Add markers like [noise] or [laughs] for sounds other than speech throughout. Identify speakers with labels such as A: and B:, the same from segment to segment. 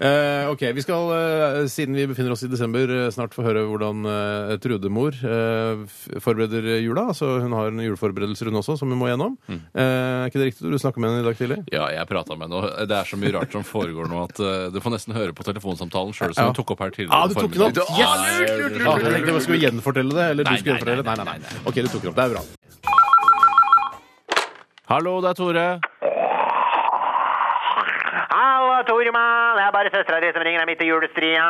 A: Eh, ok, vi skal, eh, Siden vi befinner oss i desember, eh, snart få høre hvordan eh, Trude-mor eh, f- forbereder jula. altså Hun har en juleforberedelser hun også, som hun må gjennom. Eh, er ikke det riktig? Du snakka med henne i dag tidlig?
B: Ja, jeg prata med henne. og Det er så mye rart som foregår nå at eh, du får nesten høre på telefonsamtalen sjøl som
A: Ja.
B: du tok opp her tidligere.
A: Ah, du tok den opp?
B: formiddag.
A: Yes!
B: Ah, jeg gjør det.
A: Ja, jeg tenkte jeg skulle gjenfortelle det. Eller
B: Nei,
A: du skulle
B: nei,
A: gjenfortelle det.
B: nei,
A: Nei, nei, nei. Ok, du tok det opp. Det er bra.
B: Hallo, det er Tore.
C: Halla, Tormann! Det er bare søstera di som ringer deg midt i julestria.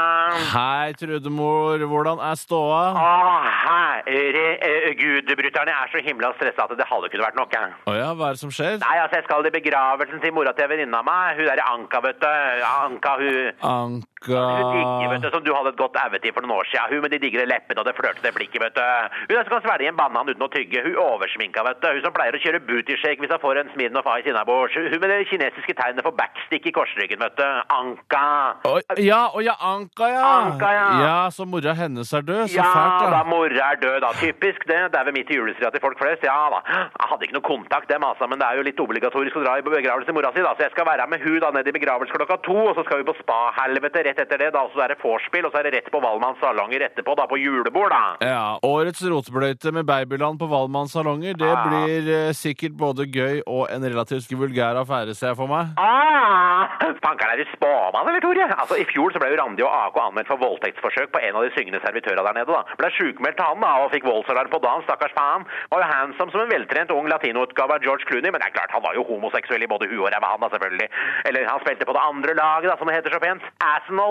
B: Hei, Trudemor. Hvordan er ståa?
C: Å, herregud, bruterne er så himla stressa at det halve kunne vært noe.
B: Å ja, hva er det som skjer?
C: Nei, altså, jeg skal i begravelsen til mora til en venninne av meg. Hun derre Anka, vet du. Anka, hun
B: Anka
C: Hun digge, vet du, som du hadde et godt aue til for noen år siden. Hun med de digre leppene og det flørtete blikket, vet du. Hun der som kan svelge en banan uten å tygge. Hun oversminka, vet du. Hun som pleier å kjøre bootyshake hvis hun får en smirn og fai innabords. Hun med det kinesiske tegnet for backstick i korsryggen, vet du. Anka.
B: Oi, ja, å ja, Anka, ja.
C: Anka, ja.
B: Så mora hennes er død? Så
C: Ja
B: fælt,
C: da,
B: da.
C: mora er død, da. Typisk det. Det er ved midt i julestria til folk flest. Ja da. Jeg hadde ikke noe kontakt, dem, altså, men det er jo litt obligatorisk å dra i begravelse til mora si, da. Så jeg skal være med hun da ned i begravelse klokka to, og så skal vi på spahelvete rett etter det. da, Og så er det vorspiel, og så er det rett på Valmanns salonger etterpå, da, på julebord, da.
B: Ja, Årets rotbløyte med babyland på Valmanns salonger. Det blir eh, sikkert både gøy og en relativt vulgær affære, ser jeg for meg.
C: Ah! Fankeren er du spåmann, eller, Tore? Altså, I fjor så ble jo Randi og AK anmeldt for voldtektsforsøk på en av de syngende servitørene der nede. da. Ble sjukmeldt han da, og fikk voldsalarm på dagen, stakkars faen. Var jo handsome som en veltrent ung latinoutgave av George Clooney, men det er klart, han var jo homoseksuell i både huet og ræva, han da, selvfølgelig. Eller han spilte på det andre laget, da, som det heter så pent. Arsenal.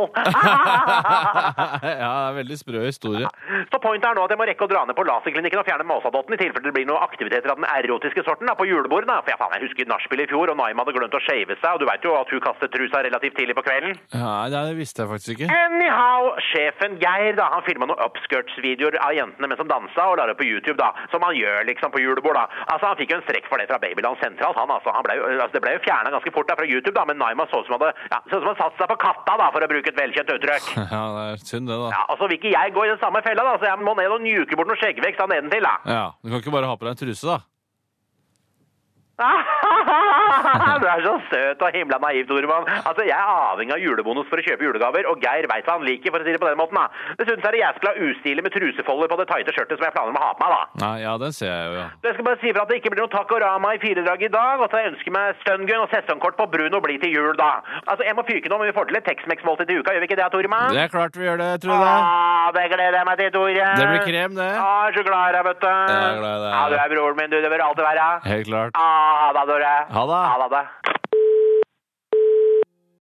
B: ja, det er en veldig sprø historie.
C: Så pointet er nå at jeg må rekke å dra ned på laserklinikken og fjerne Måsadotten i tilfelle det blir noen aktiviteter av den erotiske sorten da, på julebordet. da. For ja, faen, jeg husker nachspiel i fjor, og Naima hadde glemt å shave seg, og du veit jo at hun kastet trusa relativt tidlig på kvelden.
B: Ja, nei, det visste jeg faktisk ikke.
C: Anyhow, sjefen Geir da, han filma noen upskirts-videoer av jentene mens de dansa, og la det på YouTube, da, som han gjør liksom på julebord. da. Altså, Han fikk jo en strekk for det fra Babyland sentralt. han altså, han ble jo, altså Det ble jo fjerna ganske fort da fra YouTube, da, men Naima så ut som hadde, ja, så ut som han satt seg på katta, da, for å bruke et velkjent uttrykk.
B: Ja, det er synd, det, da.
C: Ja, og Så vil ikke jeg gå i den samme fella, da, så jeg må ned og nuke bort noe skjeggvekst da nedentil. da.
B: Ja, Du kan ikke bare ha på deg en truse, da.
C: [laughs] du er så søt og himla naiv, Toremann. Altså, jeg er avhengig av julebonus for å kjøpe julegaver, og Geir veit hva han liker, for å si det på den måten, da. Dessuten så er det jæskla ustilig med trusefolder på det tighte skjørtet som jeg planer om å ha på meg, da.
B: Nei, ja, den ser jeg jo, ja.
C: Så Jeg skal bare si fra at det ikke blir noe Takorama i firedrag i dag, og så jeg ønsker meg stungun og sesongkort på Bruno bli til jul, da. Altså, jeg må fyke nå, men vi får til et Tex-Mex-måltid i uka, gjør vi ikke det, Toremann?
B: Det er klart vi gjør det, Trude.
C: Ah, det gleder jeg meg til, Tore.
B: Det blir krem, det.
C: Ah, så glad i deg, vet du.
B: Jeg er glad i deg.
C: Ja, du er broren min, du. Det bør alltid være.
B: Helt klart.
C: Ah, ha det, Tore.
B: Ha det.
C: Ha det.